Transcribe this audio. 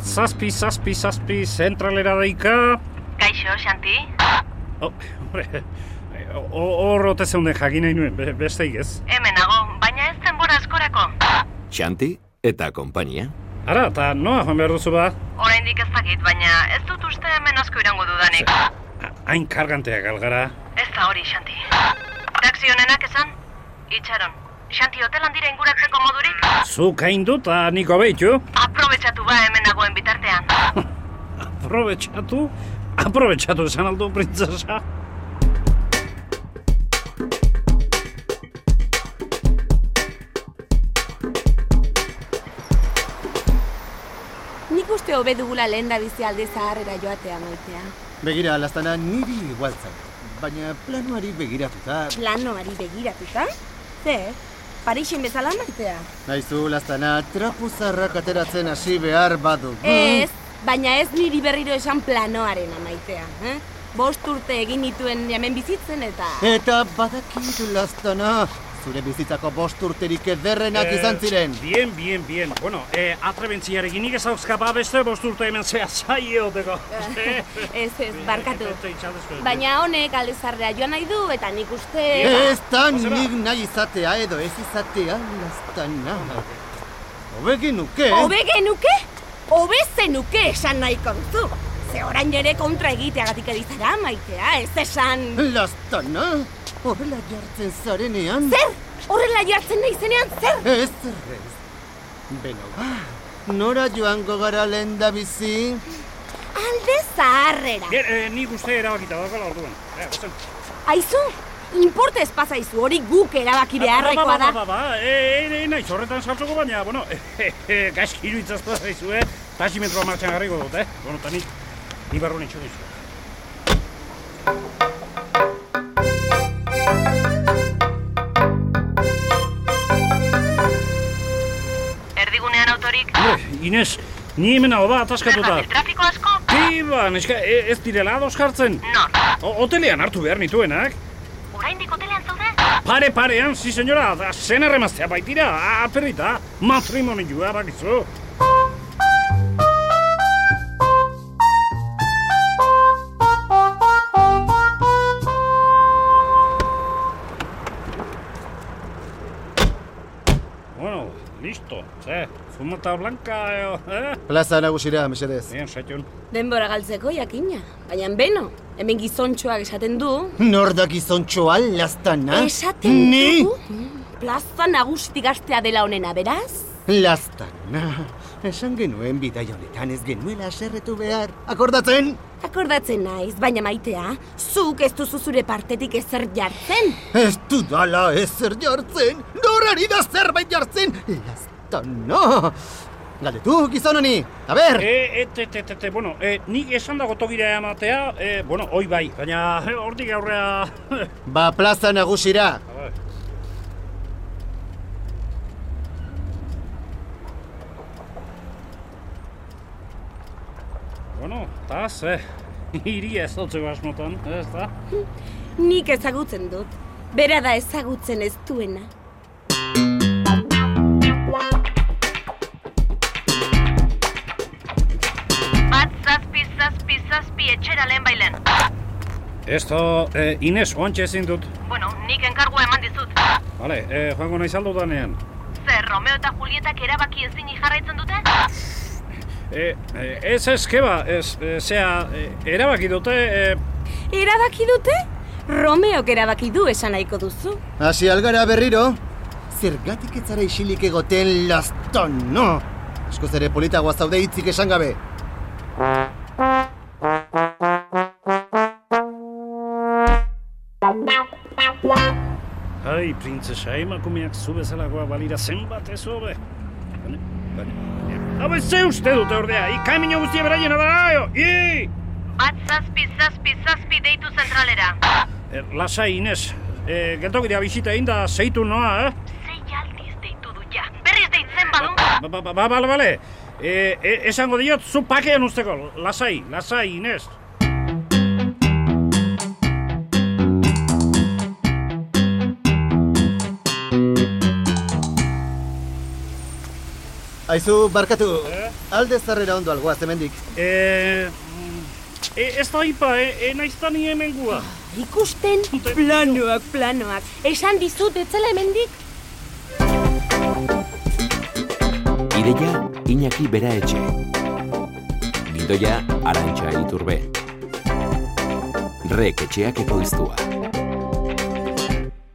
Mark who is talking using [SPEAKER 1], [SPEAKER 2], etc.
[SPEAKER 1] zazpi, zazpi, zazpi, zentralera daika...
[SPEAKER 2] Kaixo, Xanti?
[SPEAKER 1] Oh, hombre, ho- Hor ote zeunden jakin nahi nuen, be- besteik ez.
[SPEAKER 2] Hemen nago, baina ez denbora askorako.
[SPEAKER 3] Xanti eta konpainia.
[SPEAKER 1] Ara, eta noa joan behar duzu ba?
[SPEAKER 2] Oraindik ez dakit, baina ez dut uste hemen asko irango dudanik.
[SPEAKER 1] Ha- Hain karganteak algara.
[SPEAKER 2] Ez da hori, Xanti. Taxi honenak esan? Itxaron. Xanti, hotelan dira inguratzeko modurik?
[SPEAKER 1] Zuk hain dut, eta niko behitu.
[SPEAKER 2] Aprobetxatu ba hemen nagoen bitartean.
[SPEAKER 1] Aprobetxatu, aprobetxatu esan aldu, printzesa.
[SPEAKER 4] Nik uste hobe dugula lehen da bizi alde zaharrera joatea maitea.
[SPEAKER 5] Begira, lastana niri igual zait. Baina planuari begiratuta,
[SPEAKER 4] Planoari begiratuta? Zer? Parixen bezala maitea?
[SPEAKER 5] naizu lastana trapu zarrak ateratzen hasi behar badu.
[SPEAKER 4] Ez, baina ez niri berriro esan planoaren amaitea. Eh? Bost urte egin nituen hemen bizitzen eta...
[SPEAKER 5] Eta badakit lastana, zure bizitzako bost urterik ederrenak izan ziren.
[SPEAKER 1] Eh, Bien, bien, bien. Bueno, eh, atrebentziarekin nik ezauzka ba beste bost urte hemen zea zaioteko.
[SPEAKER 4] ez, ez, Eh, barkatu.
[SPEAKER 1] Eta itxaldezko.
[SPEAKER 4] Baina honek alde zaharrera joan nahi du eta nik uste...
[SPEAKER 5] Ez da
[SPEAKER 1] Joseba.
[SPEAKER 5] nik nahi izatea edo ez izatea lastana. Hobegin nuke.
[SPEAKER 4] Hobe genuke? Hobe zenuke esan nahi kontu. Ze orain ere kontra egiteagatik edizara maitea, ez esan...
[SPEAKER 5] Lastana, horrela jartzen zarenean.
[SPEAKER 4] Zer? Horrela jartzen nahi zenean, zer?
[SPEAKER 5] Ez errez. Beno, ba, nora joango gara lehen da bizi?
[SPEAKER 4] Alde zaharrera.
[SPEAKER 1] Bien, eh, nik uste erabakita dagoela orduan. Eh, gozen.
[SPEAKER 4] Aizu, inporta ez pasaizu, hori guk erabaki beharrekoa da.
[SPEAKER 1] Ba, ba, ba, ba, ba, e, e, e, naiz horretan saltzoko baina, bueno, e, e, e, gaizki iruditzaz zaizu, eh? Taximetroa martxan garriko dut, eh? Bueno, eta nik, ni barruan itxo dizu.
[SPEAKER 2] Erdigunean autorik?
[SPEAKER 1] Hombre, Eh, Ines, ni hemen hau da,
[SPEAKER 2] Zer
[SPEAKER 1] ataskatuta.
[SPEAKER 2] bazik, trafiko asko?
[SPEAKER 1] Tiba, neska, e, ez direla ados jartzen.
[SPEAKER 2] Nor.
[SPEAKER 1] O, hotelean hartu behar eh? nituenak.
[SPEAKER 2] Oraindik hotelean zaude?
[SPEAKER 1] Pare parean, si senyora, da, zen erremaztea baitira, aperrita, matrimonioa bakizu. Bueno, listo, ze, fumata blanca, eh, eh?
[SPEAKER 5] Plaza nagusira, mesedez.
[SPEAKER 1] Bien, setxun.
[SPEAKER 4] Denbora galtzeko jakina, baina beno, hemen gizontxoak esaten du.
[SPEAKER 5] Nor da gizontxoa lastana?
[SPEAKER 4] Esaten
[SPEAKER 5] Ni
[SPEAKER 4] du? Mm, Plaza nagusitik astea dela honena, beraz?
[SPEAKER 5] lastana. Esan genuen bidai honetan ez genuela aserretu behar. Akordatzen?
[SPEAKER 4] Akordatzen naiz, baina maitea, zuk ez duzu zure partetik ezer jartzen.
[SPEAKER 5] Ez dudala ezer jartzen. Norari da zerbait jartzen. Lastana. Galdetu gizon honi. A ber.
[SPEAKER 1] E, et, et, et, et, bueno, e, nik esan dago togira ematea, e, bueno, hoi bai, baina eh, hortik aurrea...
[SPEAKER 5] Ba plaza nagusira.
[SPEAKER 1] bueno, eta ze, iria ez dutzeko asmotan, ez da?
[SPEAKER 4] Nik ezagutzen dut, bera da ezagutzen ez duena.
[SPEAKER 2] Bat zazpi, zazpi, zazpi etxera lehen bailen.
[SPEAKER 1] Esto, eh, Ines, oantxe ezin dut.
[SPEAKER 2] Bueno, nik enkargua eman dizut.
[SPEAKER 1] Vale, eh, joango naiz aldotanean.
[SPEAKER 2] Zer, Romeo eta Julietak erabaki ezin jarraitzen dute?
[SPEAKER 1] Eh, eh, ez ez, keba, ez, eh, zea, eh, erabaki dute, eh,
[SPEAKER 4] Erabaki dute? Romeok erabaki du esan nahiko duzu.
[SPEAKER 5] Hasi algara berriro. Zergatik ez zara isilik egoten lastano. Askoz ere politagoa zaude hitzik esan gabe.
[SPEAKER 1] Ai, printzesa, emakumeak zu bezalakoa balira zenbat ez hobe. Baina, baina, baina. Habe ze uste dute ordea, ikamino guztia beraiena da, jo, i!
[SPEAKER 2] Bat zazpi, zazpi, zazpi deitu zentralera.
[SPEAKER 1] E, lasai, Ines, e, geltokidea bisita egin da zeitu noa, eh?
[SPEAKER 2] Zei aldiz deitu du ja. Berriz deitzen badu.
[SPEAKER 1] Ba, ba, ba, ba, bale, bale. E, e, esango diot, zu pakean usteko, lasai, lasai, Ines.
[SPEAKER 5] Aizu, barkatu.
[SPEAKER 1] Eh?
[SPEAKER 5] Alde zarrera ondo algoaz hemendik.
[SPEAKER 1] E, mm, e, ez da ipa, e, e naiz da ni hemengua.
[SPEAKER 4] Ikusten planoak, planoak. Esan dizut etzela hemendik
[SPEAKER 3] Ideia Iñaki Bera Etxe. Gidoia Arantxa Iturbe. Rek etxeak ekoiztua.